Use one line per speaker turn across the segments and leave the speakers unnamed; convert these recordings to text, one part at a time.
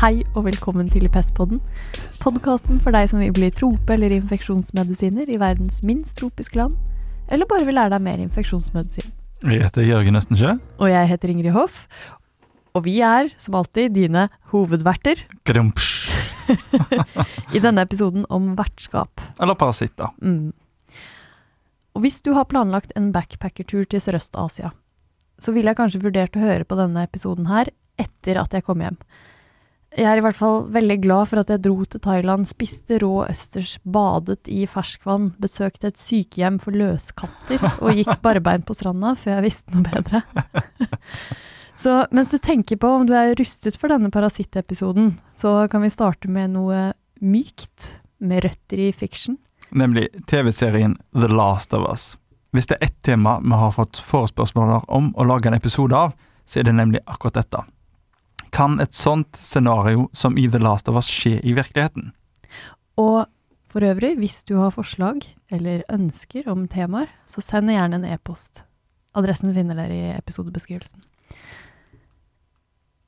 Hei og velkommen til Pestpodden. Podkasten for deg som vil bli trope- eller infeksjonsmedisiner i verdens minst tropiske land, eller bare vil lære deg mer infeksjonsmedisin.
Jeg heter Jørgen Østenskjø.
Og jeg heter Ingrid Hoff, og vi er, som alltid, dine hovedverter
Grumps.
i denne episoden om vertskap.
Eller parasitter.
Mm. Og hvis du har planlagt en backpackertur til Sørøst-Asia, så ville jeg kanskje vurdert å høre på denne episoden her etter at jeg kom hjem. Jeg er i hvert fall veldig glad for at jeg dro til Thailand, spiste rå østers, badet i ferskvann, besøkte et sykehjem for løskatter og gikk barbeint på stranda før jeg visste noe bedre. Så mens du tenker på om du er rustet for denne parasittepisoden, så kan vi starte med noe mykt, med røtter i fiction.
Nemlig TV-serien The Last of Us. Hvis det er ett tema vi har fått forespørsmåler om å lage en episode av, så er det nemlig akkurat dette. Kan et sånt scenario som i The Last of Us skje i virkeligheten?
Og for øvrig, hvis du har forslag eller ønsker om temaer, så send gjerne en e-post. Adressen finner dere i episodebeskrivelsen.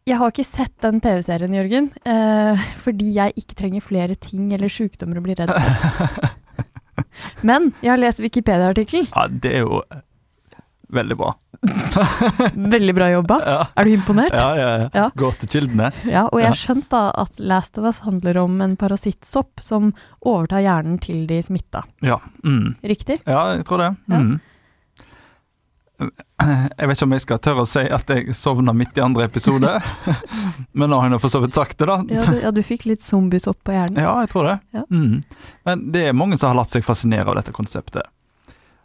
Jeg har ikke sett den TV-serien, Jørgen, eh, fordi jeg ikke trenger flere ting eller sykdommer å bli redd for. Men jeg har lest Wikipedia-artikkelen.
Ja, det er jo veldig bra.
Veldig bra jobba.
Ja,
Er du imponert?
ja, ja.
Ja.
ja. Gå til kildene.
Ja, og jeg
Ja.
skjønte da at Last of Us handler om en parasittsopp som overtar hjernen til de smitta.
Ja. Mm.
Riktig?
Ja, jeg tror det.
Ja.
Mm. Jeg vet ikke om jeg skal tørre å si at jeg sovna midt i andre episode, men nå har jeg nå for så vidt sagt det, da.
Ja, du, ja, du fikk litt zombiesopp på hjernen.
Ja, jeg tror det.
Hm? Ja.
Mm. Men det er mange som har latt seg fascinere av dette konseptet.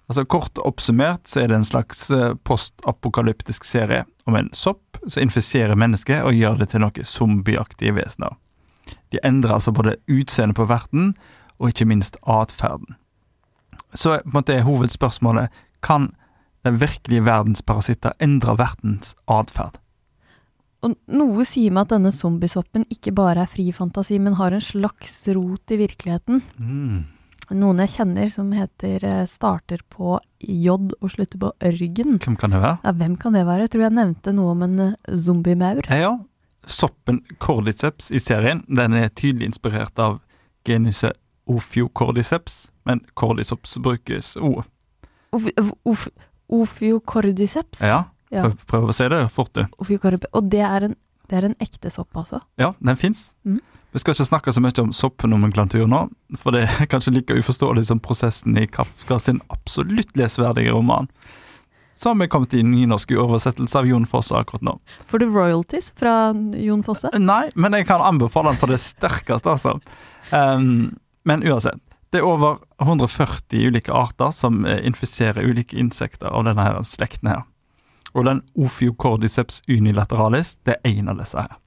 Altså Kort oppsummert så er det en slags eh, postapokalyptisk serie om en sopp som infiserer mennesket og gjør det til noe zombieaktige vesener. De endrer altså både utseendet på verten og ikke minst atferden. Så på en måte er hovedspørsmålet kan den virkelige verdens parasitter endre vertens atferd?
Og noe sier meg at denne zombiesoppen ikke bare er fri fantasi, men har en slags rot i virkeligheten.
Mm.
Noen jeg kjenner som heter eh, starter på J og slutter på ørgen.
Hvem kan det være?
Ja, hvem kan det være? Jeg tror jeg nevnte noe om en eh, zombiemaur.
Ja, ja. Soppen cordyceps i serien den er tydelig inspirert av genuset ophiocordyceps, men cordyceps brukes o.
Of, of, of, Ophiocordyceps.
Ja,
Ja.
prøv, prøv å si det fort, du.
Ophiocordyceps. Og det er, en, det er en ekte sopp, altså.
Ja, den fins.
Mhm.
Vi skal ikke snakke så mye om soppnomenklatur nå, for det er kanskje like uforståelig som prosessen i Kafka sin absolutt lesverdige roman. Så har vi kommet i nynorsk oversettelse av Jon Fosse akkurat nå.
Får du royalties fra Jon Fosse?
Nei, men jeg kan anbefale den på det sterkeste, altså. Ehm, men uansett. Det er over 140 ulike arter som eh, infiserer ulike insekter av denne her slekten her. Og den Ophiocordyceps unilateralis, det er en av disse her.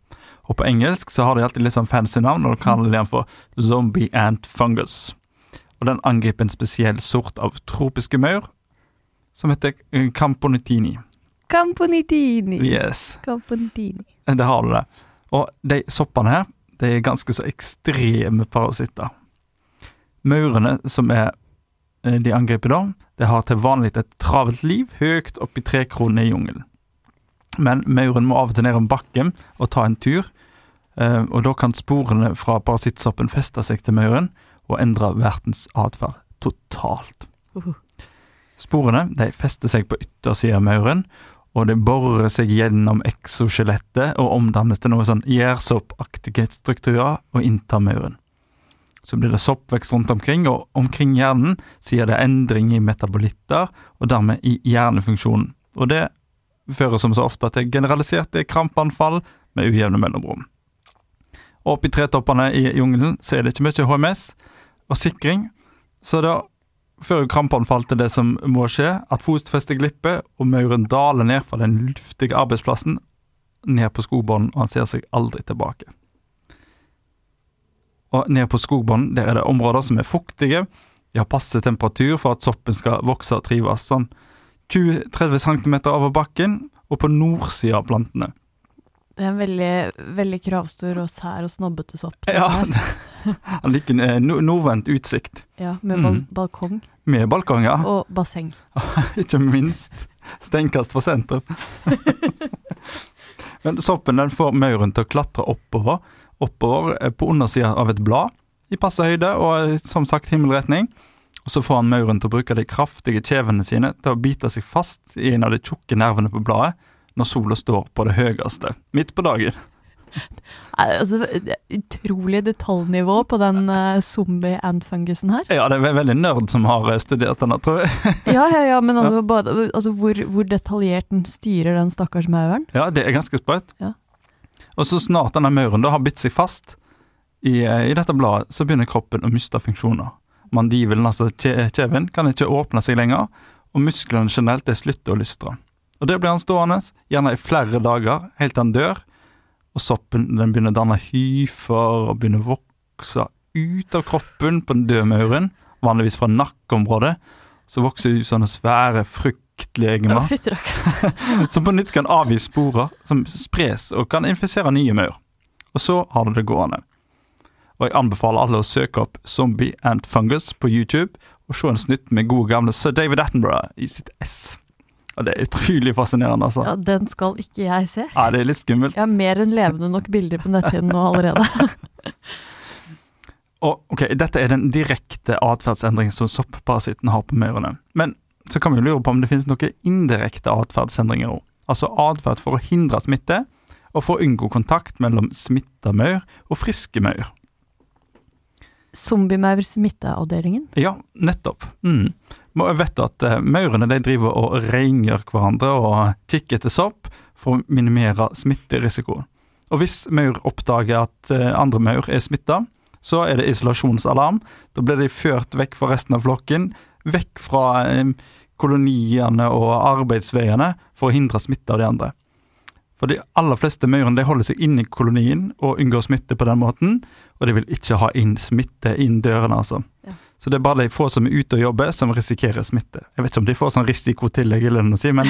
Og på engelsk så har de alltid litt sånn fancy navn, og de kaller den for zombie ant fungus. Og den angriper en spesiell sort av tropiske maur, som heter eh, camponitini.
Camponitini.
Yes.
Camponitini.
Det har du det. Og de soppene her, de er ganske så ekstreme parasitter. Maurene som er eh, de angriper da, de har til vanlig et travelt liv høyt oppi trekronene i jungelen. Men mauren må av og til ned om bakken og ta en tur, eh, og da kan sporene fra parasittsoppen feste seg til mauren og endre vertens atferd totalt.
Uhu.
Sporene de fester seg på yttersida av mauren, og det borer seg gjennom exoskjelettet og omdannes til noe sånn gjærsoppaktige strukturer og inntar muren. Så blir det soppvekst rundt omkring, og omkring hjernen så gir det endring i metabolitter, og dermed i hjernefunksjonen. Og det fører som så ofte til generaliserte krampanfall med ujevne mellomrom. Og oppi tretoppene i jungelen så er det ikke mye HMS og sikring, så da før krampanfall til det som må skje, at fotfestet glipper, og mauren daler ned fra den luftige arbeidsplassen, ned på skogbånden, og han ser seg aldri tilbake. Og ned på skogbånden, der er det områder som er fuktige, de har passe temperatur for at soppen skal vokse og trives, sånn 20-30 cm over bakken, og på nordsida av plantene.
Det er en veldig, veldig kravstor og sær og snobbete sopp. det
Ja,
der.
han liker en eh, no- nordvendt utsikt.
ja med bal
Mm.
balkong
Med balkonger.
Ah.
og basseng.
Ikke minst. Steinkast fra sentrum. Men soppen den får mauren til å klatre oppover, oppover eh, på undersida av et blad i passe høyde og eh, som sagt himmelretning. Og så får han mauren til å bruke de kraftige kjevene sine til å bite seg fast i en av de tjukke nervene på bladet når sola står på det høyeste, midt på dagen.
Nei, Altså, det er utrolig detaljnivå på den eh, zombie-and-fungusen her.
Ja, det er ve- veldig nerd som har eh, studert denne, tror jeg.
Ja, ja, ja, men altså, både, altså hvor, hvor detaljert den styrer den stakkars mauren.
Ja, det er ganske sprøtt.
Ja.
Og så snart denne mauren da har bitt seg fast i, eh, i dette bladet, så begynner kroppen å miste funksjoner. Mandivelen, altså kje- kjeven, kan ikke åpne seg lenger, og musklene generelt de slutter å lystre. Og det blir han stående, gjerne i flere dager, helt til han dør, og soppen den begynner å danne hyfer og begynner å vokse ut av kroppen på den døde mauren, vanligvis fra nakkeområdet, så vokser det ut sånne svære, fryktelige
Å,
egemer
fytti rakkeren.
som på nytt kan avgi sporer som spres og kan infisere nye maur. Og så har du det gående. Og jeg anbefaler alle å søke opp Zombie and Fungus på YouTube og se en snutt med gode gamle sir David Attenborough i sitt ess. Og det er utrolig fascinerende, altså.
Ja, den skal ikke jeg se.
Ja, det er litt skummelt.
Jeg har mer enn levende nok bilder på netthinnen nå allerede.
Og ok, Dette er den direkte atferdsendringen som soppparasitten har på maurene. Men så kan vi jo lure på om det finnes noen indirekte atferdsendringer òg. Altså atferd for å hindre smitte, og for å unngå kontakt mellom smitta maur og friske maur.
Zombiemaur-smitteavdelingen.
Ja, nettopp. Mm. Må- Jeg vet at eh, maurene de driver og rengjør hverandre og kikker etter sopp for å minimere smitterisikoen. Og hvis maur oppdager at eh, andre maur er smitta, så er det isolasjonsalarm. Da blir de ført vekk fra resten av flokken, vekk fra eh, koloniene og arbeidsveiene for å hindre smitte av de andre. For de aller fleste maurene de holder seg inne i kolonien og unngår smitte på den måten. Og de vil ikke ha inn smitte inn dørene, altså. Så det er bare de få som er ute og jobber, som risikerer smitte. Jeg vet ikke om de får sånn risikotillegg eller noe, å si, men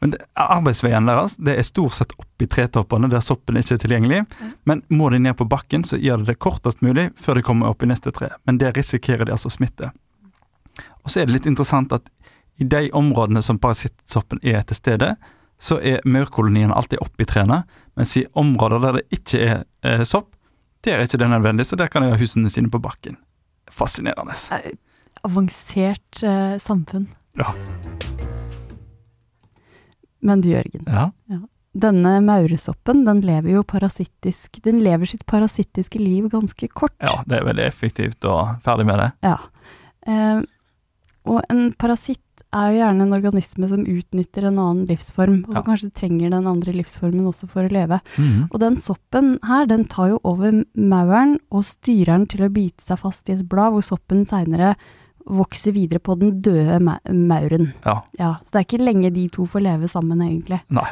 Men det- arbeidsveien deres det er stort sett oppi tretoppene, der soppen ikke er tilgjengelig. Men må de ned på bakken, så gjør de det kortest mulig før de kommer opp i neste tre. Men der risikerer de altså smitte. Og så er det litt interessant at i de områdene som parasittsoppen er til stede, så er maurkolonien alltid oppi trærne, mens i områder der det ikke er eh, sopp, der er ikke det nødvendig, så der kan de ha husene sine på bakken. Fascinerende.
Eh, Avansert eh, samfunn.
Ja.
Men du, Jørgen.
ja.
Denne maursoppen den lever jo parasittisk Den lever sitt parasittiske liv ganske kort.
ja det er veldig effektivt og ferdig med det.
Ja. Eh, og en parasitt er jo gjerne en organisme som utnytter en annen livsform, og som
Ja.
kanskje trenger den andre livsformen også for å leve.
Mhm.
Og den soppen her, den tar jo over mauren og styrer den til å bite seg fast i et blad, hvor soppen seinere vokser videre på den døde ma mauren.
Ja.
Ja, så det er ikke lenge de to får leve sammen, egentlig.
Nei,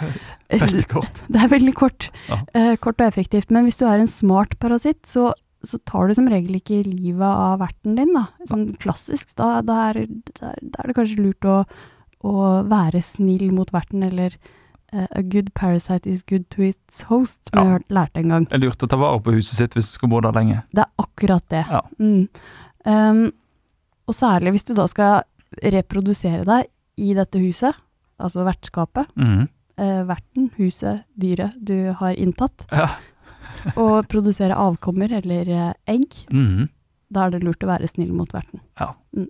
veldig kort.
Det er veldig kort.
Ja.
Eh, kort og effektivt. Men hvis du er en smart parasitt, så, så tar du som regel ikke livet av verten din, da. Sånn klassisk. Da, da, er, da er- da er det kanskje lurt å, å være snill mot verten, eller eh, A good parasite is good to its host, som
Ja.
jeg hørte- lærte en gang.
Det er lurt å ta vare på huset sitt hvis du skal bo der lenge.
Det er akkurat det.
Ja.
Mm. Um, og særlig hvis du da skal reprodusere deg i dette huset, altså vertskapet,
Mhm.
eh, verten, huset, dyret du har inntatt,
Ja.
og produsere avkommer eller eh, egg,
Mhm.
da er det lurt å være snill mot verten.
Ja.
Mm.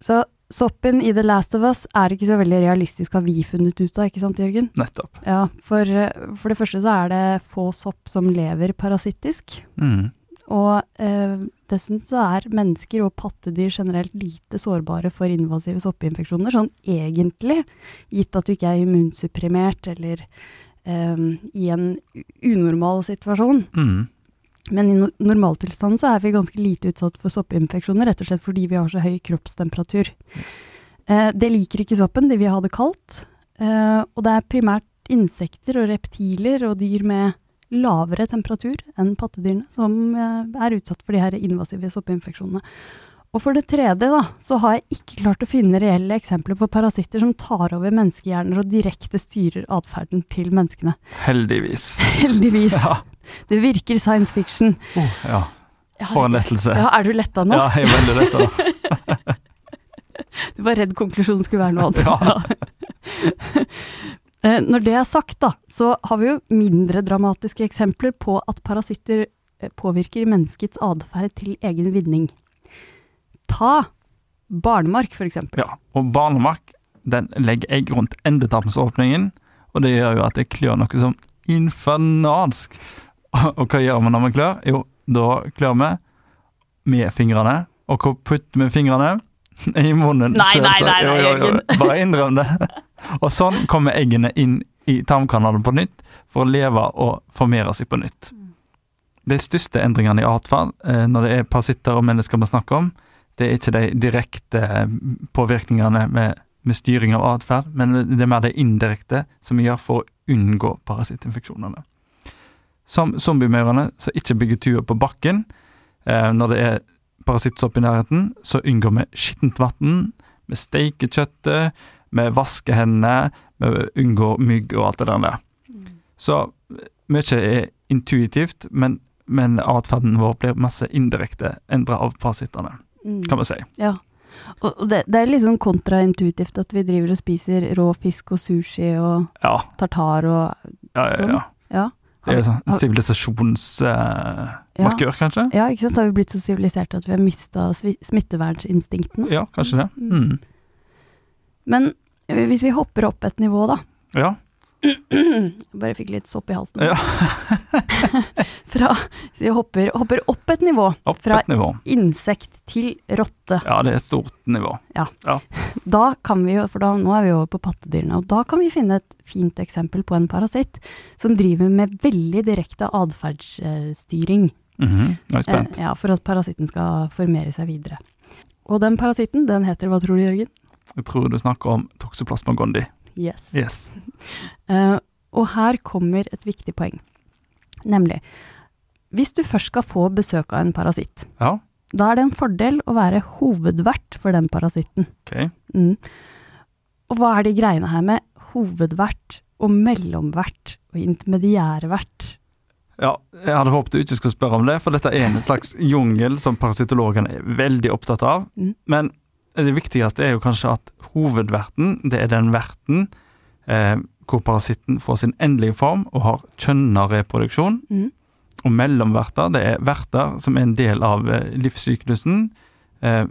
Så soppen i The Last of Us er ikke så veldig realistisk, har vi funnet ut av, ikke sant, Jørgen?
Nettopp.
Ja, for, eh, for det første så er det få sopp som lever parasittisk.
Mhm.
Og eh, dessuten så er mennesker og pattedyr generelt lite sårbare for invasive soppinfeksjoner, sånn egentlig, gitt at du ikke er immunsupprimert eller eh, i en u- unormal situasjon.
Mhm.
Men i no normaltilstanden så er vi ganske lite utsatt for soppinfeksjoner, rett og slett fordi vi har så høy kroppstemperatur. Eh, det liker ikke soppen, de vil ha det kaldt. Eh, og det er primært insekter og reptiler og dyr med lavere temperatur enn pattedyrene som eh, er utsatt for de her invasive soppinfeksjonene. Og for det tredje da, så har jeg ikke klart å finne reelle eksempler på parasitter som tar over menneskehjerner og direkte styrer atferden til menneskene.
Heldigvis.
Heldigvis.
Ja.
Det virker science fiction.
Oh, ja.
Jeg har
For en lettelse.
ja, er du letta nå?
Ja, jeg er veldig lett da.
Du var redd konklusjonen skulle være noe annet. Eh, Når det er sagt, da, så har vi jo mindre dramatiske eksempler på at parasitter eh, påvirker menneskets atferd til egen vinning. Ta barnemark, for eksempel.
Ja, og barnemark den legger egg rundt endetarmsåpningen, og det gjør jo at jeg klør noe som infernalsk. Og hva gjør vi når vi klør? Jo, da klør vi med fingrene. Og hvor putter vi fingrene? I munnen.
Nei, nei,
selvsagt.
nei, nei,
Jo, jo, jo.
Jørgen.
Bare innrøm det. Og sånn kommer eggene inn i tarmkanalen på nytt for å leve og formere seg på nytt. De største endringene i atferd eh, når det er parasitter og mennesker vi snakker om, det er ikke de direkte eh, påvirkningene med, med styring av atferd, men det er mer det indirekte som vi gjør for å unngå parasittinfeksjonene. Som zombiemaurene som ikke bygger tuer på bakken eh, når det er parasittsopp i nærheten, så unngår vi skittent vann, vi steiker kjøttet, vi vasker hendene, vi unngår mygg og alt det der.
Mm.
Så eh, mye er intuitivt, men, men atferden vår blir masse indirekte endra av parasittene, kan vi si.
Ja. Og og det, det er litt sånn kontraintuitivt at vi driver og spiser rå fisk og sushi og
Ja,
tartar og
ja, ja. ja.
Ja,
Det er jo sånn
Sånn. Har- ja,
sivilisasjonsmarkør, kanskje?
ja ikke sant? Har vi blitt så siviliserte at vi har mista smitteverninstinktene?
Ja, kanskje det. Mm.
Men eh, hvis vi hopper opp et nivå, da.
Ja.
Jeg bare fikk litt sopp i halsen.
Ja.
Fra, så jeg hopper, hopper opp et nivå.
Opp
Fra-
et nivå.
Insekt til rotte.
Ja, det er et stort nivå.
Da kan vi jo, for da, nå er vi over på pattedyrene, og da kan vi finne et fint eksempel på en parasitt som driver med veldig direkte atferdsstyring. Eh,
Mhm. Nå er jeg spent.
ja, for at parasitten skal formere seg videre. Og den parasitten, den heter, hva tror du Jørgen?
Jeg tror du snakker om toxoplasma gondii.
Yes.
Yes.
Eh, og her kommer et viktig poeng. Nemlig, hvis du først skal få besøk av en parasitt,
Ja,
da er det en fordel å være hovedvert for den parasitten.
ok.
Mm. Og hva er de greiene her med hovedvert og mellomvert og intermediærvert?
Ja, jeg hadde håpet du ikke skulle spørre om det, for dette er en slags jungel som parasitologene er veldig opptatt av.
Mm.
Men det viktigste er jo kanskje at hovedverten, det er den verten eh, hvor parasitten får sin endelige form og har kjønna reproduksjon.
Mm.
Og mellomverter, det er verter som er en del av eh, livssyklusen, eh,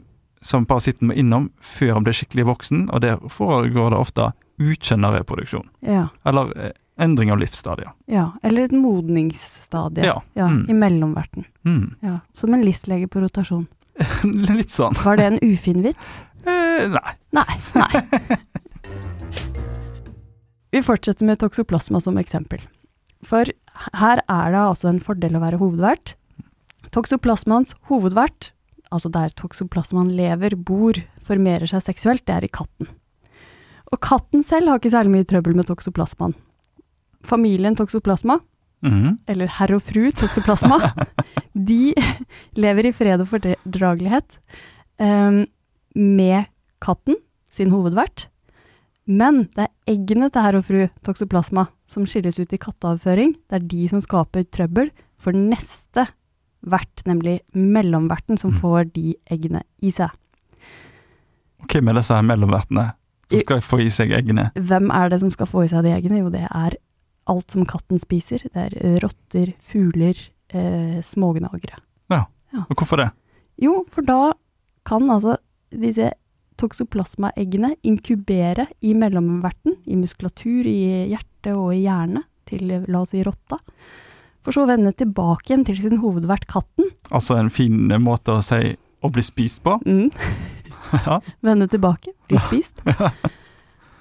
som parasitten må innom før han blir skikkelig voksen, og der foregår det ofte ukjønna reproduksjon,
Ja,
eller eh, endring av livsstadier.
ja. Eller et modningsstadie
Ja, mm.
i mellomverten.
Mm.
Ja. Som en listlege på rotasjon.
Litt sånn.
Var det en ufin vits?
Eh, nei.
Nei. nei. Vi fortsetter med toksoplasma som eksempel. For her er det altså en fordel å være hovedvert. Toksoplasmaens hovedvert, altså der toksoplasmaen lever, bor, formerer seg seksuelt, det er i katten. Og katten selv har ikke særlig mye trøbbel med toksoplasmaen. Familien toksoplasma,
Mhm.
eller herr og fru toksoplasma, de lever i fred og fordragelighet eh, med katten, sin hovedvert. Men det er eggene til herr og fru toksoplasma som skilles ut i katteavføring. Det er de som skaper trøbbel for neste vert, nemlig mellomverten, som
Mm.
får de eggene i seg.
Hvem er disse her mellomvertene som skal få i seg eggene?
Hvem er det som skal få i seg de eggene? Jo, det er alt som katten spiser. Det er eh, rotter, fugler, eh, smågnagere.
Og hvorfor det?
Jo, for da kan altså disse toksoplasmaeggene inkubere i mellomverten, i muskulatur, i hjerte og i hjerne, til la oss si rotta. For så å vende tilbake igjen til sin hovedvert katten.
Altså en fin måte å si å bli spist på?
Mm.
Ja.
vende tilbake, bli spist.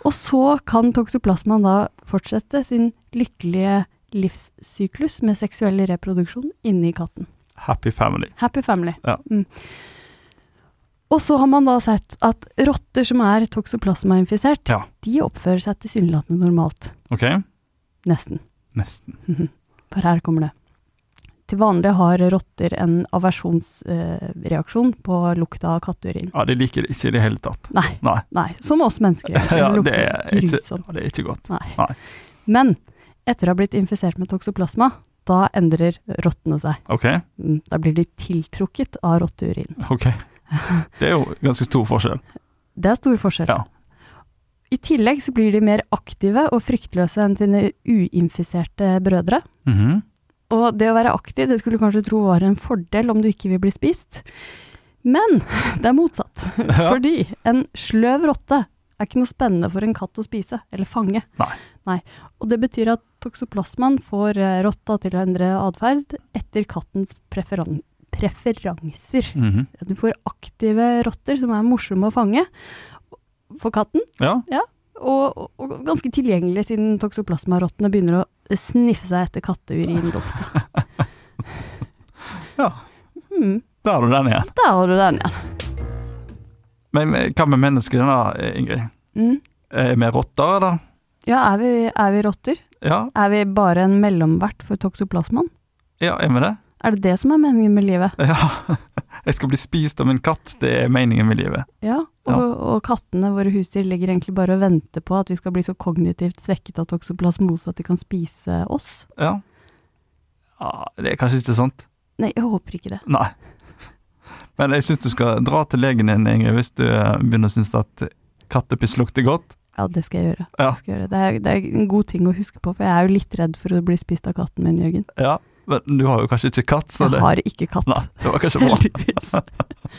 Og så kan toksoplasmaen da fortsette sin lykkelige livssyklus med seksuell reproduksjon inni katten.
Happy family.
Happy family.
Ja.
Mm. Og så har man da sett at rotter som er toksoplasmainfisert,
Ja.
de oppfører seg tilsynelatende normalt.
Ok?
Nesten.
Nesten.
For her kommer det. Til vanlig har rotter en aversjonsreaksjon eh, på lukta av katteurin.
Ja, de liker det ikke i det hele tatt.
Nei.
Nei.
Nei, som oss mennesker.
Ja,
gjør. Det
det
lukter
er ikke,
grusomt.
ja, det er ikke godt.
Men etter å ha blitt infisert med toksoplasma, da endrer rottene seg.
Ok?
Mm, Da blir de tiltrukket av rotteurin.
ok. Det er jo ganske stor forskjell.
Det er stor forskjell.
Ja.
I tillegg så blir de mer aktive og fryktløse enn sine uinfiserte brødre.
Mhm.
Og det å være aktiv, det skulle du kanskje tro var en fordel om du ikke vil bli spist. Men det er motsatt.
Ja.
Fordi en sløv rotte er ikke noe spennende for en katt å spise, eller fange.
Nei.
Nei. Og det betyr at toksoplasmaen får eh, rotta til å endre atferd etter kattens preferan preferanser.
Mhm.
Du får aktive rotter som er morsomme å fange for katten,
Ja.
og, og- og ganske tilgjengelig siden toksoplasmarottene begynner å sniffe seg etter katteurinlukta.
Ja.
Hmm,
Der har du den igjen.
der har du den igjen.
Men men hva med menneskene, da, Ingrid?
Mm.
Er vi rotter, eller?
Ja, er vi, er vi rotter?
Ja,
Er vi bare en mellomvert for toksoplasmaen?
ja er vi det?
Er det det som er meningen med livet?
Ja. Jeg skal bli spist av en katt, det er meningen med livet.
Ja, og, og kattene, våre husdyr, ligger egentlig bare og venter på at vi skal bli så kognitivt svekket av toksoplasmose at de kan spise oss.
Ja. ja det er kanskje ikke sant?
Nei, jeg håper ikke det.
Nei. Men jeg syns du skal dra til legen din, Ingrid, hvis du eh, begynner å synes at kattepiss lukter godt.
Ja, det skal jeg gjøre.
Ja.
Det, skal jeg gjøre. Det, er, det er en god ting å huske på, for jeg er jo litt redd for å bli spist av katten min, Jørgen.
Ja, men du har jo kanskje ikke katt, så
Jeg
det
har ikke katt,
Nei, det var kanskje bra.
heldigvis.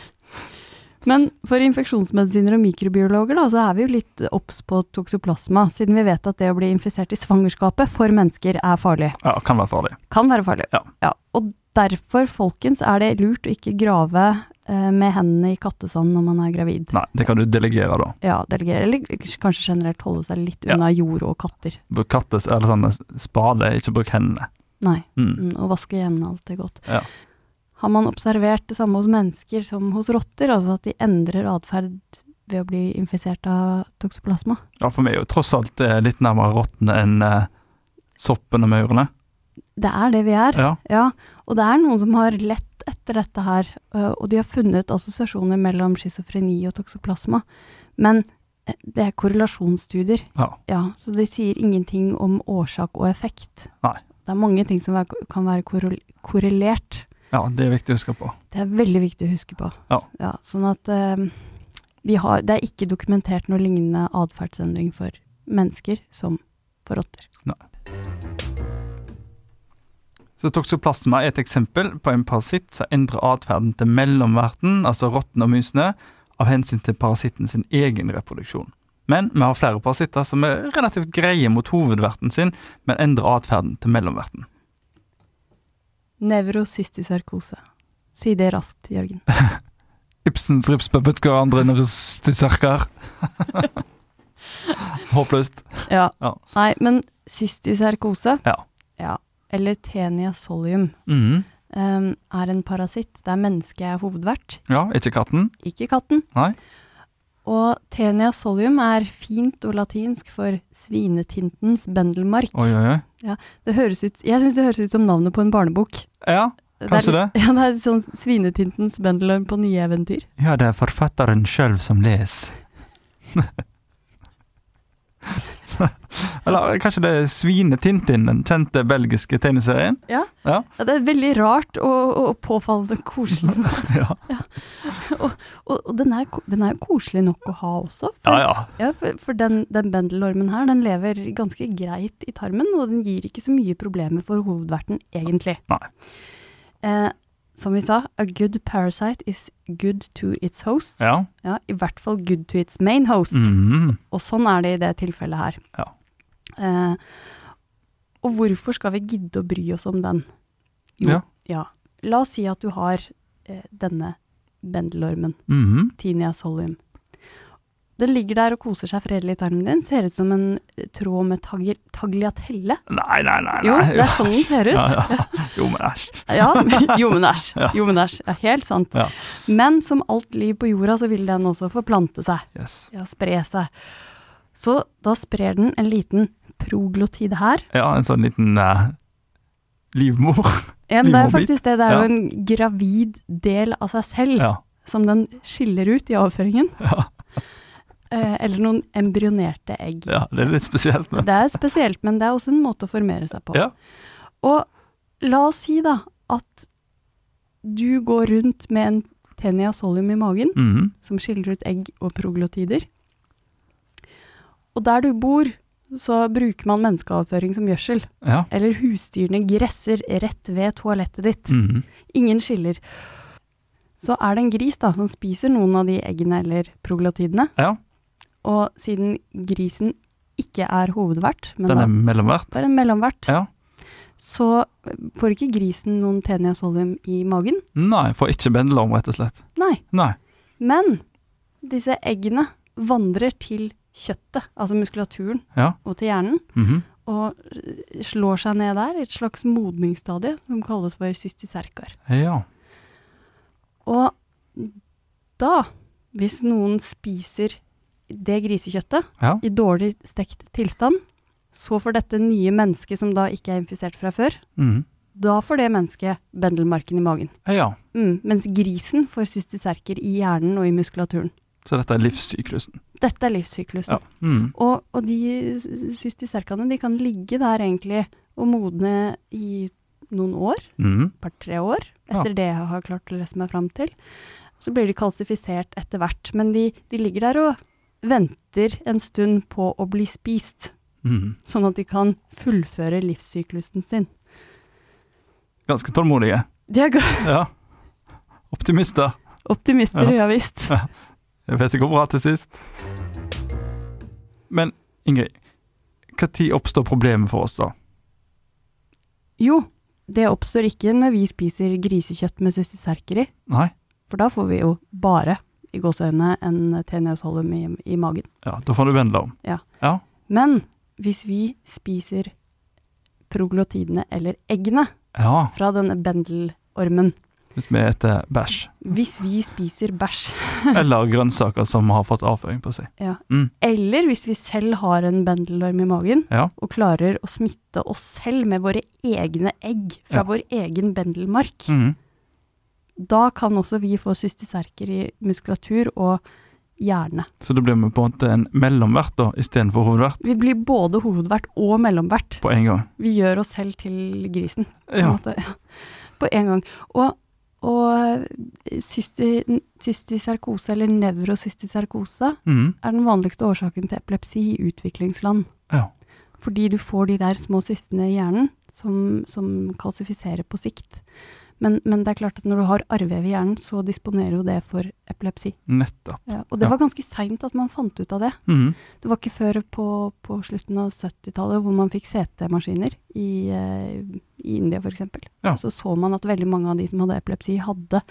Men for infeksjonsmedisiner og mikrobiologer da, så er vi jo litt obs på toksoplasma, siden vi vet at det å bli infisert i svangerskapet for mennesker er farlig.
Ja, kan være farlig.
Kan være farlig.
Ja.
Og derfor, folkens, er det lurt å ikke grave eh, med hendene i kattesand når man er gravid.
Nei, det kan du delegere, da.
Ja, delegere, eller kanskje generelt holde seg litt
Ja.
unna jord og katter.
Bruk kattes eller sånn spade, ikke bruk hendene.
Nei.
Mm.
Mm, og vaske hendene alt er godt.
Ja.
Har man observert det samme hos mennesker som hos rotter, altså at de endrer atferd ved å bli infisert av toksoplasma?
Ja, for meg er jo tross alt eh, litt nærmere rottene enn eh, soppen og maurene.
Det er det vi er,
Ja.
ja. Og det er noen som har lett etter dette her, øh, og de har funnet assosiasjoner mellom schizofreni og toksoplasma. Men eh, det er korrelasjonsstudier,
ja.
ja, så de sier ingenting om årsak og effekt.
Nei.
Det er mange ting som er- kan være korrel- korrelert.
Ja, det er viktig å huske på.
Det er veldig viktig å huske på.
Ja.
sånn at eh, vi har, det er ikke dokumentert noe lignende atferdsendring for mennesker som for rotter.
Så Toksoplasma er et eksempel på en parasitt som endrer atferden til mellomverten, altså rottene og musene, av hensyn til parasitten sin egen reproduksjon. Men vi har flere parasitter som er relativt greie mot hovedverten sin, men endrer atferden til mellomverten.
Nevrocystisarkose. Si det raskt, Jørgen.
Ibsens ripspuppet går andre inn og styrker. Håpløst.
Ja.
Ja.
Nei, men cystisarkose,
Ja.
Ja, eller tenia solium,
Mhm.
eh, er en parasitt der mennesket er hovedvert,
Ja, ikke katten?
ikke katten.
Nei.
Og tenia solium er fint og latinsk for svinetintens bendelmark.
Oi, oi, oi.
Det høres ut, jeg syns det høres ut som navnet på en barnebok.
Ja, kanskje det.
er, Ja, det er sånn Svinetintens Bendelorm på nye eventyr.
Ja, det er forfatteren sjøl som leser. Eller kanskje det er Svine-Tintin, den kjente belgiske tegneserien?
Ja.
Ja.
det er veldig rart og, og påfallende koselig.
Ja,
og og den, er, ko- den er jo koselig nok å ha også. For,
ja. ja.
Ja, for, for den, den bendelormen her, den lever ganske greit i tarmen, og den gir ikke så mye problemer for hovedverten, egentlig.
Nei.
Eh, som vi sa, a good parasite is good to its host.
ja.
Ja, I hvert fall good to its main host.
Mm.
Og sånn er det i det tilfellet her.
Ja.
Eh, og hvorfor skal vi gidde å bry oss om den?
Ja.
ja. La oss si at du har eh, denne bendelormen,
Mm.
Tinia solium. Den ligger der og koser seg fredelig i tarmen din. Ser ut som en eh, tråd med tagli tagliatelle.
Nei, nei, nei. nei.
Jo, det er sånn den ser ut.
Ja, ja. Jo, men æsj.
Ja, jo men æsj. Jo men æsj. Ja, helt sant.
Ja.
Men som alt liv på jorda, så vil den også forplante seg.
Yes.
Ja, spre seg. Så da sprer den en liten proglotid her.
Ja, en sånn liten eh, livmor.
Ja, men det er
Livmorbit.
faktisk det. Det er
Ja.
jo en gravid del av seg selv
Ja.
som den skiller ut i avføringen.
Ja.
Eh, eller noen embryonerte egg.
ja, det er litt spesielt, men
Det er spesielt, men det er også en måte å formere seg på.
Ja.
Og la oss si da at du går rundt med en tenia solium i magen,
Mhm.
som skiller ut egg og proglotider. Og der du bor, så bruker man menneskeavføring som gjødsel.
Ja.
Eller husdyrene gresser rett ved toalettet ditt.
Mhm.
Ingen skiller. Så er det en gris da, som spiser noen av de eggene eller proglatidene.
ja.
Og siden grisen ikke er hovedvert, men
Den
da
er mellomvert.
bare en mellomvert,
Ja.
så får ikke grisen noen tenia solium i magen.
Nei, får ikke bendla om, rett og slett.
Nei.
Nei.
Men disse eggene vandrer til kjøttet, altså muskulaturen,
Ja.
og til hjernen.
Mhm.
Og slår seg ned der i et slags modningsstadie som kalles for cysticerkar.
ja.
Og da, hvis noen spiser det grisekjøttet
Ja.
i dårlig stekt tilstand, så får dette nye mennesket som da ikke er infisert fra før,
Mhm.
da får det mennesket bendelmarken i magen.
ja.
Mm, mens grisen får cysticerker i hjernen og i muskulaturen.
Så dette er livssyklusen.
Dette er livssyklusen.
Ja. Mhm.
Og, og de s- s- cysticerkene de kan ligge der egentlig og modne i noen år,
Mhm.
et par-tre år,
Ja.
etter det jeg har klart å lese meg fram til. Så blir de kalsifisert etter hvert, men de, de ligger der og venter en stund på å bli spist,
Mhm.
sånn at de kan fullføre livssyklusen sin.
Ganske tålmodige.
De er ga-
Ja. Optimister.
optimister, ja, visst.
Jeg vet det går bra til sist. Men Ingrid, når oppstår problemet for oss, da?
Jo, det oppstår ikke når vi spiser grisekjøtt med cysticerker i,
Nei?
for da får vi jo bare, i gåseøynene, en teniasholum i, i magen.
Ja, da får du bendla om.
Men hvis vi spiser proglotidene eller eggene
Ja,
fra denne bendelormen,
hvis vi spiser bæsj.
hvis vi spiser bæsj,
Eller grønnsaker som har fått avføring på seg.
ja.
Mm.
eller hvis vi selv har en bendelorm i magen
Ja.
og klarer å smitte oss selv med våre egne egg fra
Ja.
vår egen bendelmark,
Mhm.
da kan også vi få cystiserker i muskulatur og hjerne.
Så da blir vi på en måte en mellomvert da, istedenfor hovedvert
Vi blir både hovedvert og mellomvert.
på en gang.
Vi gjør oss selv til grisen. på en
Ja.
måte. Ja. På en gang. Og, og eh, cysti, cystiserkose, eller nevrocystiserkose,
Mhm.
er den vanligste årsaken til epilepsi i utviklingsland.
Ja.
Fordi du får de der små cystene i hjernen som, som kalsifiserer på sikt. Men, men det er klart at når du har arrvev i hjernen, så disponerer jo det for epilepsi.
Nettopp.
Ja, og
Ja.
det var ganske seint at man fant ut av det.
Mhm.
Det var ikke før på, på slutten av 70-tallet hvor man fikk CT-maskiner i, eh, i India f.eks.
Ja.
Så så man at veldig mange av de som hadde epilepsi, hadde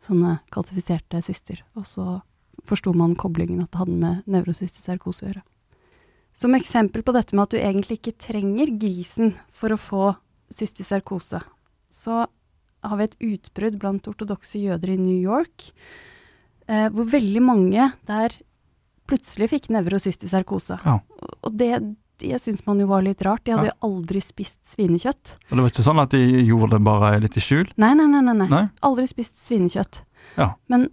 sånne kalsifiserte syster. Og så forsto man koblingen at det hadde med nevrocystiserkose å gjøre. Som eksempel på dette med at du egentlig ikke trenger grisen for å få cystiserkose, så har vi et utbrudd blant ortodokse jøder i New York, eh, hvor veldig mange der plutselig fikk nevrocystiserkose.
Ja.
Og det, det syns man jo var litt rart. De hadde jo aldri spist svinekjøtt.
Og det var ikke sånn at de gjorde det bare litt i skjul?
Nei, nei, nei. nei, nei.
Nei?
Aldri spist svinekjøtt.
Ja.
Men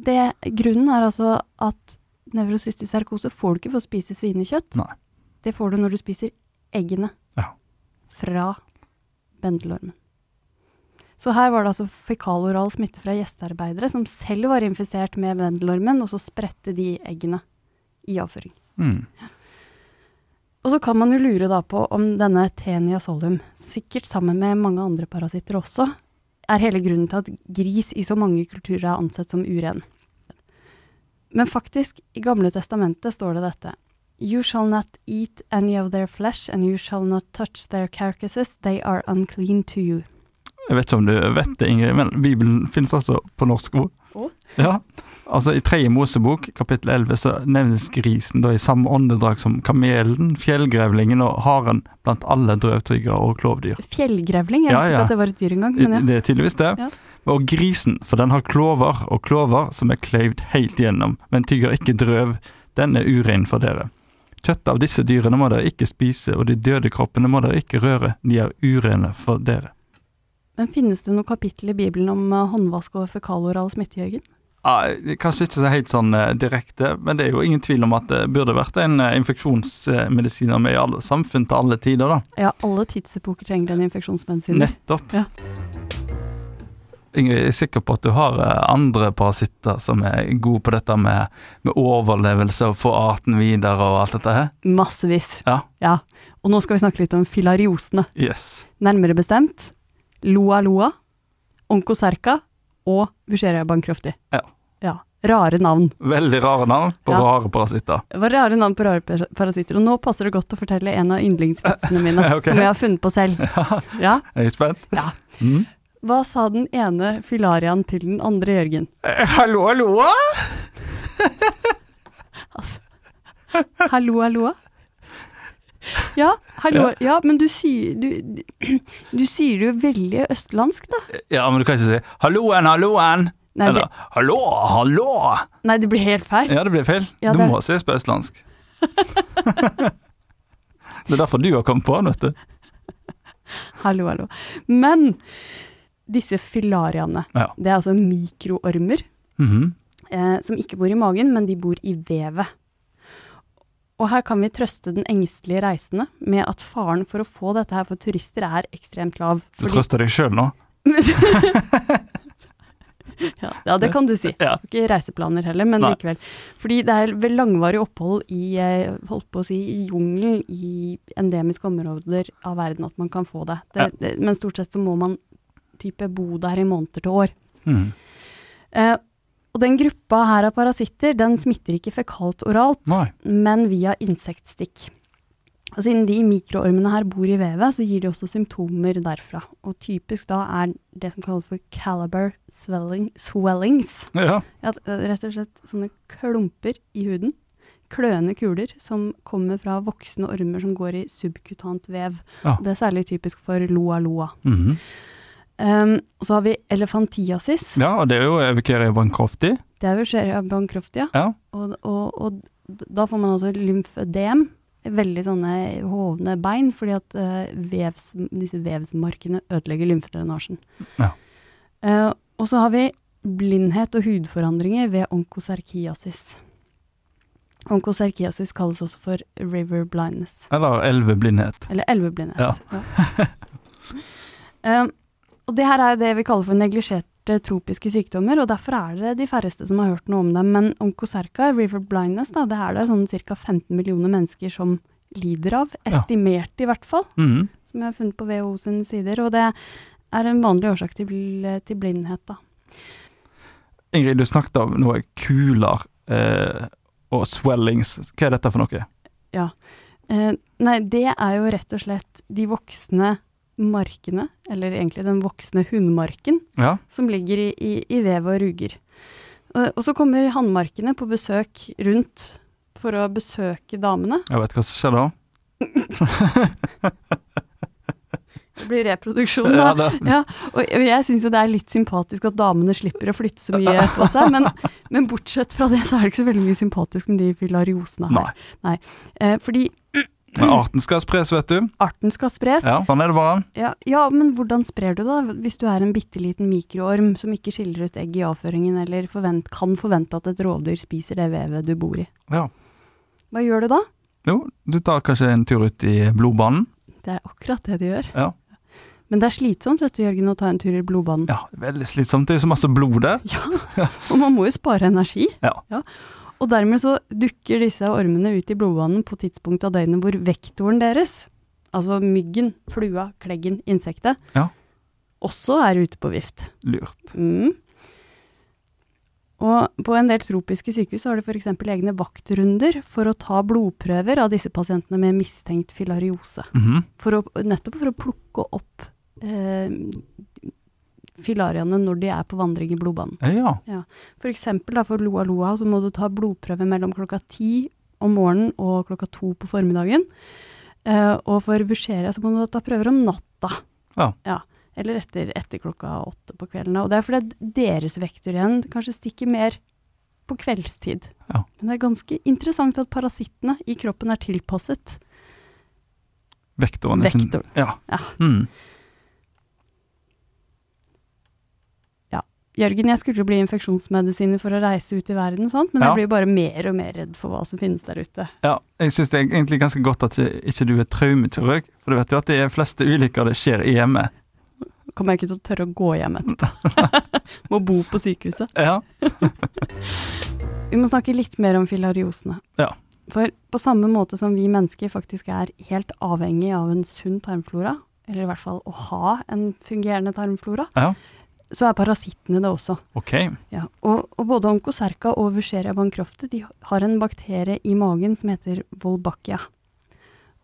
det, grunnen er altså at nevrocystiserkose får du ikke for å spise svinekjøtt.
Nei.
Det får du når du spiser eggene
Ja.
fra bendelormen. Så her var det altså fekaloral smitte fra gjestearbeidere som selv var infisert med bendelormen, og så spredte de eggene i avføring.
Mhm.
Og så kan man jo lure da på om denne tenia solium, sikkert sammen med mange andre parasitter også, er hele grunnen til at gris i så mange kulturer er ansett som uren. Men faktisk, i Gamle testamentet står det dette. You shall not eat any of their flesh, and you shall not touch their carcasses, they are unclean to you.
Jeg vet ikke om du vet det, Ingrid, men Bibelen finnes altså på norsk ord.
Å?
Ja. Altså, I tredje Mosebok, kapittel 11, så nevnes grisen da i samme åndedrag som kamelen, fjellgrevlingen og haren blant alle drøvtyggere og klovdyr.
Fjellgrevling, jeg
Ja,
visste
ja.
ikke at det var et dyr engang, men ja.
Det er tydeligvis det.
Ja.
Og grisen, for den har klover og klover som er kløyvd helt igjennom, men tygger ikke drøv. Den er urein for dere. Kjøttet av disse dyrene må dere ikke spise, og de døde kroppene må dere ikke røre, de er urene for dere.
Men finnes det noe kapittel i Bibelen om eh, håndvask og fekaloral smitte, Jørgen?
Ja, kanskje ikke så helt sånn eh, direkte, men det er jo ingen tvil om at det burde vært en eh, infeksjonsmedisiner med i alle samfunn til alle tider, da.
Ja, alle tidsepoker trenger en infeksjonsmedisin.
Nettopp.
Ja.
Ingrid, jeg er sikker på at du har eh, andre parasitter som er gode på dette med, med overlevelse og få arten videre og alt dette her.
Massevis.
Ja.
Og nå skal vi snakke litt om filariosene.
Yes.
Nærmere bestemt Loa Loa, Onkoserka og Vucheria bancrofti.
Ja.
ja. Rare navn.
Veldig rare navn på
Ja.
rare parasitter.
Det var rare navn på rare par- parasitter. Og nå passer det godt å fortelle en av yndlingsvitsene mine,
Ok.
som jeg har funnet på selv. Ja.
Er jeg spent?
Ja.
Mm.
Hva sa den ene filariaen til den andre, Jørgen?
Eh, Hallo, hallo!
Altså, hallo, hallo? Ja, hallo, ja, men du sier, du, du sier det jo veldig østlandsk, da.
Ja, men du kan ikke si 'halloen, halloen'.
Nei,
Eller
det,
'hallo, hallo'.
nei, det blir helt feil.
Ja, det blir feil.
Ja,
Du
det-
må sies på østlandsk. det er derfor du har kommet på den, vet du.
Hallo, hallo. Men disse filariaene,
Ja.
det er altså mikroormer
Mhm.
eh, som ikke bor i magen, men de bor i vevet. Og her kan vi trøste den engstelige reisende med at faren for å få dette her for turister er ekstremt lav.
Du trøster deg sjøl nå?
ja, ja, det kan du si.
Ja.
Ikke reiseplaner heller, men
Nei.
likevel. Fordi det er ved langvarig opphold i, eh, holdt på å si, i jungelen i endemiske områder av verden at man kan få det. det,
Ja.
det men stort sett så må man type bo der i måneder til år.
Mhm.
Eh, og den gruppa her av parasitter, den smitter ikke fekalt oralt,
Nei.
men via insektstikk. Og siden de mikroormene her bor i vevet, så gir de også symptomer derfra. Og typisk da er det som kalles for caliber swelling, swellings.
Ja.
Ja, t- eh, rett og slett sånne klumper i huden. Kløende kuler som kommer fra voksne ormer som går i subkutant vev.
Ja.
Og Det er særlig typisk for loa loa.
Mhm.
Um, og så har vi elefantiasis.
ja, og det er jo Evicaria bancrofti.
Det er jo Sheria bancroftia.
Ja.
Og, og, og d- da får man også lymfødem. Veldig sånne hovne bein, fordi at eh, vevs, disse vevsmarkene ødelegger lymfedrenasjen.
Ja.
Eh, og så har vi blindhet og hudforandringer ved onkoserkiasis. Onkoserkiasis kalles også for river blindness.
Eller elveblindhet.
Eller elveblindhet.
Ja.
Ja. um, og det her er jo det vi kaller for neglisjerte tropiske sykdommer, og derfor er det de færreste som har hørt noe om dem. Men onkoserka, river blindness, da, det er det sånn ca. 15 millioner mennesker som lider av.
Ja.
Estimert i hvert fall,
Mhm.
som jeg har funnet på WHO sine sider. Og det er en vanlig årsak til, bl- til blindhet, da.
Ingrid, du snakket om noe kuler eh, og swellings. Hva er dette for noe?
Eh, nei, det er jo rett og slett de voksne markene, eller egentlig den voksne hundmarken,
Ja.
som ligger i, i, i vev og ruger. Og, og så kommer hannmarkene på besøk rundt for å besøke damene.
Jeg vet hva som skjer da.
Det blir reproduksjon, da.
Ja, det.
Ja, og og jeg syns jo det er litt sympatisk at damene slipper å flytte så mye på seg, men, men bortsett fra det så er det ikke så veldig mye sympatisk med de filariosene her.
Nei.
Eh, fordi
Men arten skal spres, vet du.
arten skal spres.
Ja, Sånn er det bare.
Ja, ja, men hvordan sprer du det, da? Hvis du er en bitte liten mikroorm som ikke skiller ut egg i avføringen, eller forvent, kan forvente at et rovdyr spiser det vevet du bor i.
Ja.
Hva gjør du da?
Jo, du tar kanskje en tur ut i blodbanen.
Det er akkurat det de gjør.
Ja.
Men det er slitsomt vet du, Jørgen, å ta en tur i blodbanen.
Ja, veldig slitsomt. Det er jo så masse blod der.
Og man må jo spare energi.
Ja.
Og dermed så dukker disse ormene ut i blodbanen på tidspunkt av døgnet hvor vektoren deres, altså myggen, flua, kleggen, insektet,
Ja.
også er ute på vift.
Lurt.
Mm. Og på en del tropiske sykehus har de f.eks. egne vaktrunder for å ta blodprøver av disse pasientene med mistenkt filariose.
Mhm.
for å, nettopp for å plukke opp eh, filariene når de er på vandring i blodbanen.
Ja.
For eksempel da, for Loa Loa så må du ta blodprøve mellom klokka ti om morgenen og klokka to på formiddagen. Eh, og for Vucheria så må du ta prøver om natta.
Ja.
Eller etter, etter klokka åtte på kvelden. da. Og det er fordi at deres vektor igjen kanskje stikker mer på kveldstid.
Ja.
Men det er ganske interessant at parasittene i kroppen er tilpasset
Vektoren. i sin-
vektoren.
Ja.
Ja.
Mhm.
Jørgen, jeg skulle jo bli infeksjonsmedisiner for å reise ut i verden, sant? men
Ja.
jeg blir bare mer og mer redd for hva som finnes der ute.
ja. Jeg syns det er egentlig ganske godt at ikke du er traumekirurg, for du vet jo at de fleste ulykker det skjer i hjemmet.
kommer jeg ikke til å tørre å gå hjem etterpå. Må bo på sykehuset.
Ja.
Vi må snakke litt mer om filariosene.
Ja.
For på samme måte som vi mennesker faktisk er helt avhengig av en sunn tarmflora, eller i hvert fall å ha en fungerende tarmflora,
ja.
så er parasittene det også.
Ok.
Ja, og, og både Oncocerca og Vucheria bancrofte de har en bakterie i magen som heter Wolbachia.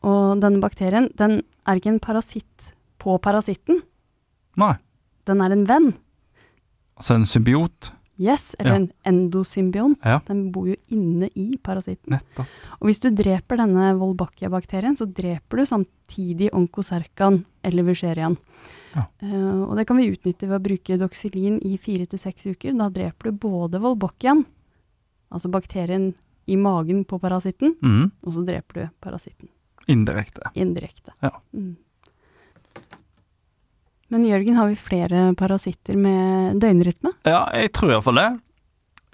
Og denne bakterien den er ikke en parasitt på parasitten,
Nei.
den er en venn.
Altså en symbiot.
Yes, eller
Ja.
en endosymbiont.
Ja.
Den bor jo inne i parasitten.
Nettopp.
Og hvis du dreper denne Wolbachia-bakterien, så dreper du samtidig Oncocercaen eller Vucheriaen.
Ja.
Eh, og det kan vi utnytte ved å bruke doxylin i fire til seks uker. Da dreper du både Wolbachiaen, altså bakterien i magen på parasitten,
Mhm.
og så dreper du parasitten
Indirekte.
indirekte.
Ja.
Mm. Men Jørgen, har vi flere parasitter med døgnrytme?
Ja, jeg tror iallfall det.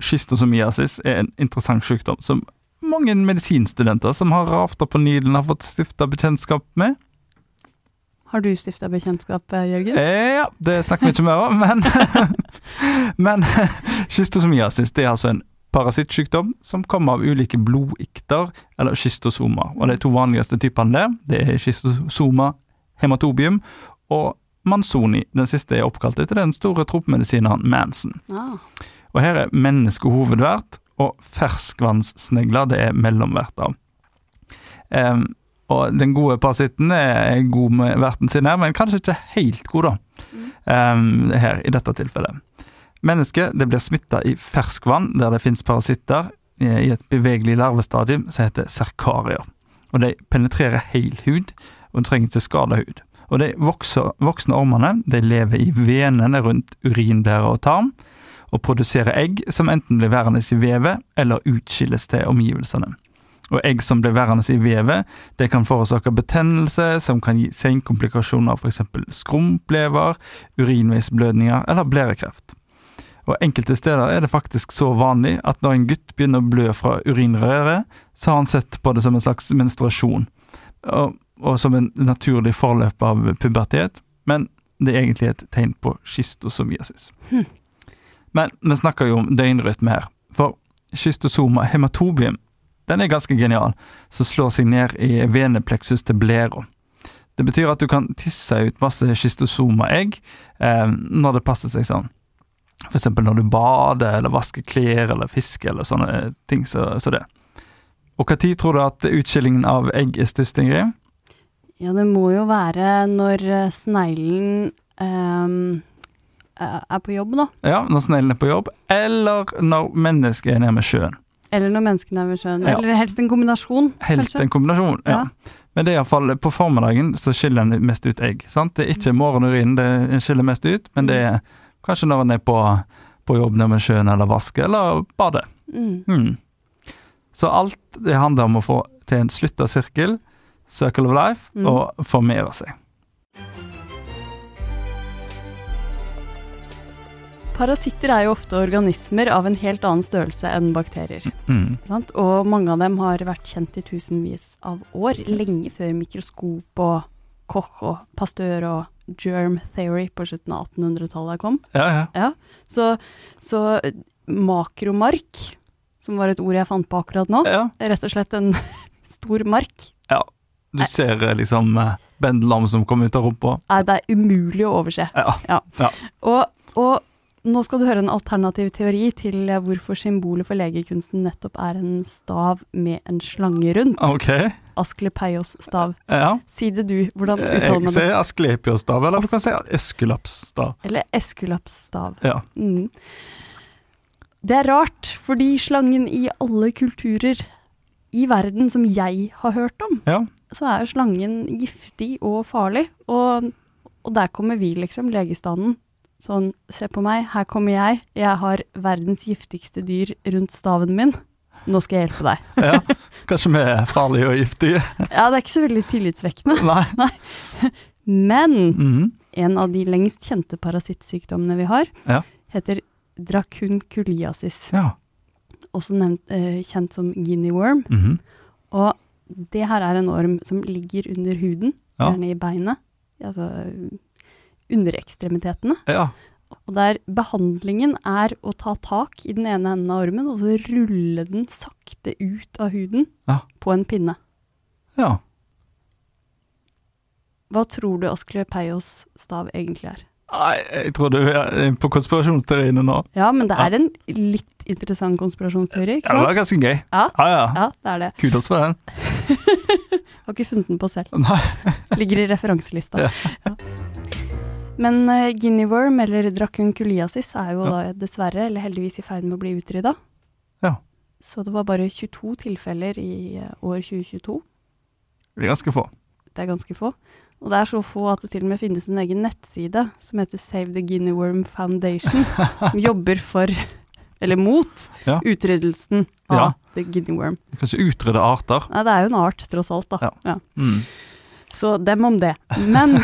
Schistosomiasis er en interessant sykdom som mange medisinstudenter som har rafta på Nilen, har fått stifta bekjentskap med.
Har du stifta bekjentskap, eh, Jørgen?
Eh, Ja, det snakker vi ikke mer om, men, men schistosomiasis det er altså en parasittsykdom som kommer av ulike blodikter, eller schistosomer. Og de to vanligste typene der, det er schistosoma hematobium og mansoni. Den siste er oppkalt etter den store tropemedisineren Manson.
Ah.
Og her er menneske hovedvert, og ferskvannssnegler det er mellomvert av. Em, og den gode parasitten er god med verten sin her, men kanskje ikke helt god, da. Em, Ehm, her, i dette tilfellet. Mennesket det blir smitta i ferskvann, der det fins parasitter, eh, i et bevegelig larvestadium som heter serkarier. Og de penetrerer hel hud, og de trenger ikke skade hud. Og de vokser, voksne ormene de lever i venene rundt urinblære og tarm, og produserer egg som enten blir værende i vevet eller utskilles til omgivelsene. Og egg som blir værende i vevet, det kan forårsake betennelse som kan gi senkomplikasjoner, f.eks. skrumplever, urinveisblødninger eller blærekreft. Og Enkelte steder er det faktisk så vanlig at når en gutt begynner å blø fra urinrøret, så har han sett på det som en slags menstruasjon, og, og som en naturlig forløp av pubertet, men det er egentlig et tegn på schistosomiasis. Men vi snakker jo om døgnrytme her, for schystosoma hematobium den er ganske genial, som slår seg ned i venepleksus til blæra. Det betyr at du kan tisse ut masse schystosoma-egg eh, når det passer seg sånn. For eksempel når du bader, eller vasker klær, eller fisker, eller sånne eh, ting som så, så det. Og hva tid tror du at utskillingen av egg er størst, Ingrid?
Ja, det må jo være når eh, sneglen ehm, eh, er på jobb, da.
Ja, når sneglen er på jobb, eller når mennesket er nede med sjøen.
Eller når menneskene er ved sjøen.
Ja.
Eller helst en kombinasjon,
Helst
kanskje.
en kombinasjon, ja. Men det er iallfall på formiddagen så skiller en mest ut egg. sant? Det er ikke morgenurinen det en skiller mest ut, men det er kanskje når en er på, på jobb nede ved sjøen eller vasker eller bader.
Mm.
Hmm. Så alt det handler om å få til en slutta sirkel, circle of life,
Mm.
og formere seg.
Parasitter er jo ofte organismer av en helt annen størrelse enn bakterier.
Hmm.
ikke Sant? Og mange av dem har vært kjent i tusenvis av år, lenge før mikroskop og Koch og Pasteur og germ theory på slutten av 1800-tallet kom.
Ja, ja.
Så, så eh, makromark, som var et ord jeg fant på akkurat nå,
ja.
rett og slett en stor mark.
Du ser eh, liksom eh, bendelam som kommer ut av rumpa.
Nei, det er umulig å overse.
Ja.
Og, og nå skal du høre en alternativ teori til eh, hvorfor symbolet for legekunsten nettopp er en stav med en slange rundt.
OK.
Asklepeios-stav.
Ja. Eh,
Si det du, hvordan uttaler
Jeg
man det?
sier Asklepios-stav, eller du kan si Eskulapsstav.
Eller Esculaps-stav.
Ja.
Mm. Det er rart, fordi slangen i alle kulturer i verden som jeg har hørt om,
Ja.
så er jo slangen giftig og farlig. Og, og der kommer vi, liksom, legestanden. Sånn, se på meg, her kommer jeg. Jeg har verdens giftigste dyr rundt staven min. Nå skal jeg hjelpe deg.
Ja, kanskje vi er farlige og giftige.
Ja, det er ikke så veldig tillitsvekkende.
Nei.
Men
Mhm.
en av de lengst kjente parasittsykdommene vi har,
Ja.
heter dracunculiasis.
Ja.
Også nevnt, eh, kjent som guinea worm.
Mhm.
Og det her er en orm som ligger under huden,
Ja.
gjerne i beinet. Altså underekstremitetene.
Ja.
Og der behandlingen er å ta tak i den ene enden av ormen, og så rulle den sakte ut av huden
Ja.
på en pinne.
ja.
Hva tror du Asklepeios stav egentlig er?
Nei, jeg tror du er på konspirasjonsterrenet nå.
Ja, men det er en litt interessant konspirasjonsteori,
Ja,
ikke
det
sant?
var ganske gøy.
Ja.
Ja, ja.
Ja, det er det.
Kudos for den.
Har ikke funnet den på selv.
Nei.
Ligger i referanselista. Ja. Men uh, guinea worm, eller dracunculiasis, er jo da dessverre, eller heldigvis, i ferd med å bli utrydda.
Ja.
Så det var bare 22 tilfeller i eh, år 2022.
Vi er ganske få.
Det er ganske få. Og det er så få at det til og med finnes en egen nettside som heter Save the Guinea Worm Foundation, som jobber for, eller mot,
Ja.
utryddelsen av
Ja.
the guinea worm.
Vi kan ikke utrydde arter.
Nei, det er jo en art, tross alt, da.
Ja. Mm.
Så dem om det. Men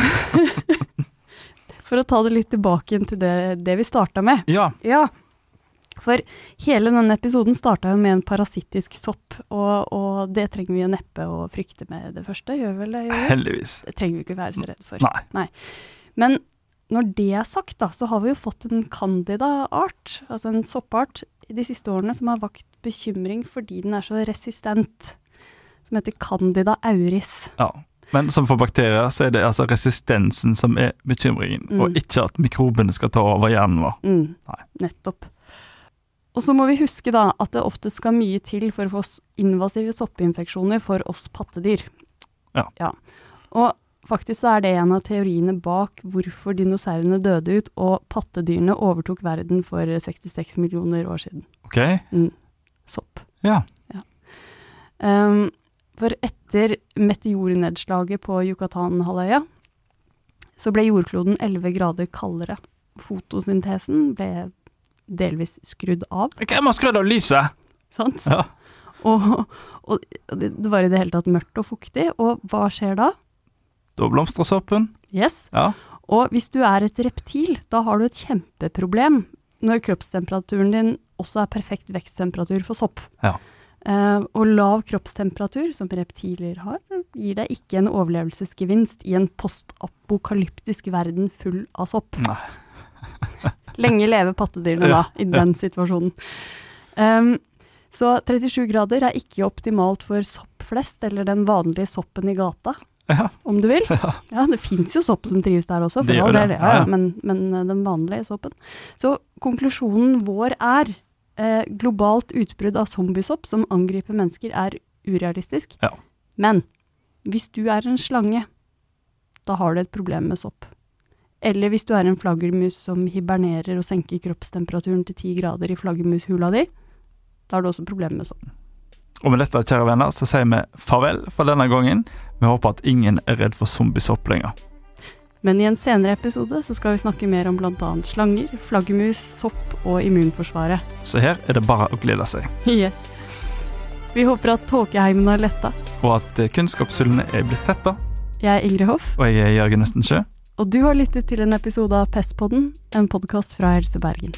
for å ta det litt tilbake igjen til det, det vi starta med.
Ja.
Ja, for hele denne episoden starta jo med en parasittisk sopp, og, og det trenger vi jo neppe å frykte med det første, gjør vel det? Gjør vi?
Heldigvis.
Det trenger vi ikke være så redd for.
Nei.
Men når det er sagt, da, så har vi jo fått en candida-art, altså en soppart, de siste årene som har vakt bekymring fordi den er så resistent, som heter candida auris.
Ja. Men som for bakterier så er det altså resistensen som er bekymringen,
Mm.
og ikke at mikrobene skal ta over hjernen vår.
Mm,
Nei.
nettopp. Og så må vi huske da at det ofte skal mye til for å få s- invasive soppinfeksjoner for oss pattedyr.
Ja.
Og faktisk så er det en av teoriene bak hvorfor dinosaurene døde ut og pattedyrene overtok verden for 66 millioner år siden.
Ok?
Sopp.
Ja.
Ehm, for etter meteornedslaget på Yucatan-halvøya, så ble jordkloden 11 grader kaldere. Fotosyntesen ble delvis skrudd av,
Hvem har skrudd av lyset?
sant?
Ja.
Og, og det det var i det hele tatt mørkt og fuktig, og hva skjer da?
Da blomstrer soppen.
Yes.
Ja.
Og hvis du er et reptil, da har du et kjempeproblem når kroppstemperaturen din også er perfekt veksttemperatur for sopp.
Ja.
Eh, og lav kroppstemperatur, som reptiler har, gir deg ikke en overlevelsesgevinst i en postapokalyptisk verden full av sopp.
Nei.
Lenge leve pattedyrene da, i den situasjonen. Ehm, så 37 grader er ikke optimalt for sopp flest, eller den vanlige soppen i gata,
Ja.
om du vil.
Ja.
Ja, det fins jo sopp som trives der også, for
Det gjør
all
det,
del. Ja,
ja,
ja.
ja.
Men, men eh, den vanlige soppen. Så konklusjonen vår er eh, globalt utbrudd av zombiesopp som angriper mennesker, er urealistisk.
Ja.
Men hvis du er en slange, da har du et problem med sopp. Eller hvis du er en flaggermus som hibernerer og senker kroppstemperaturen til 10 grader i flaggermushula di, da har du også problemer med sopp.
Og med dette, kjære venner, så sier vi farvel for denne gangen. Vi håper at ingen er redd for zombiesopp lenger.
Men i en senere episode så skal vi snakke mer om bl.a. slanger, flaggermus, sopp og immunforsvaret.
Så her er det bare å glede seg.
Yes. Vi håper at tåkeheimen har letta.
Og at eh, kunnskapshullene er blitt tetta.
Jeg er Ingrid Hoff,
Og jeg er Jørgen Østensjø.
og du har lyttet til en episode av Pestpodden, en podkast fra Helse Bergen.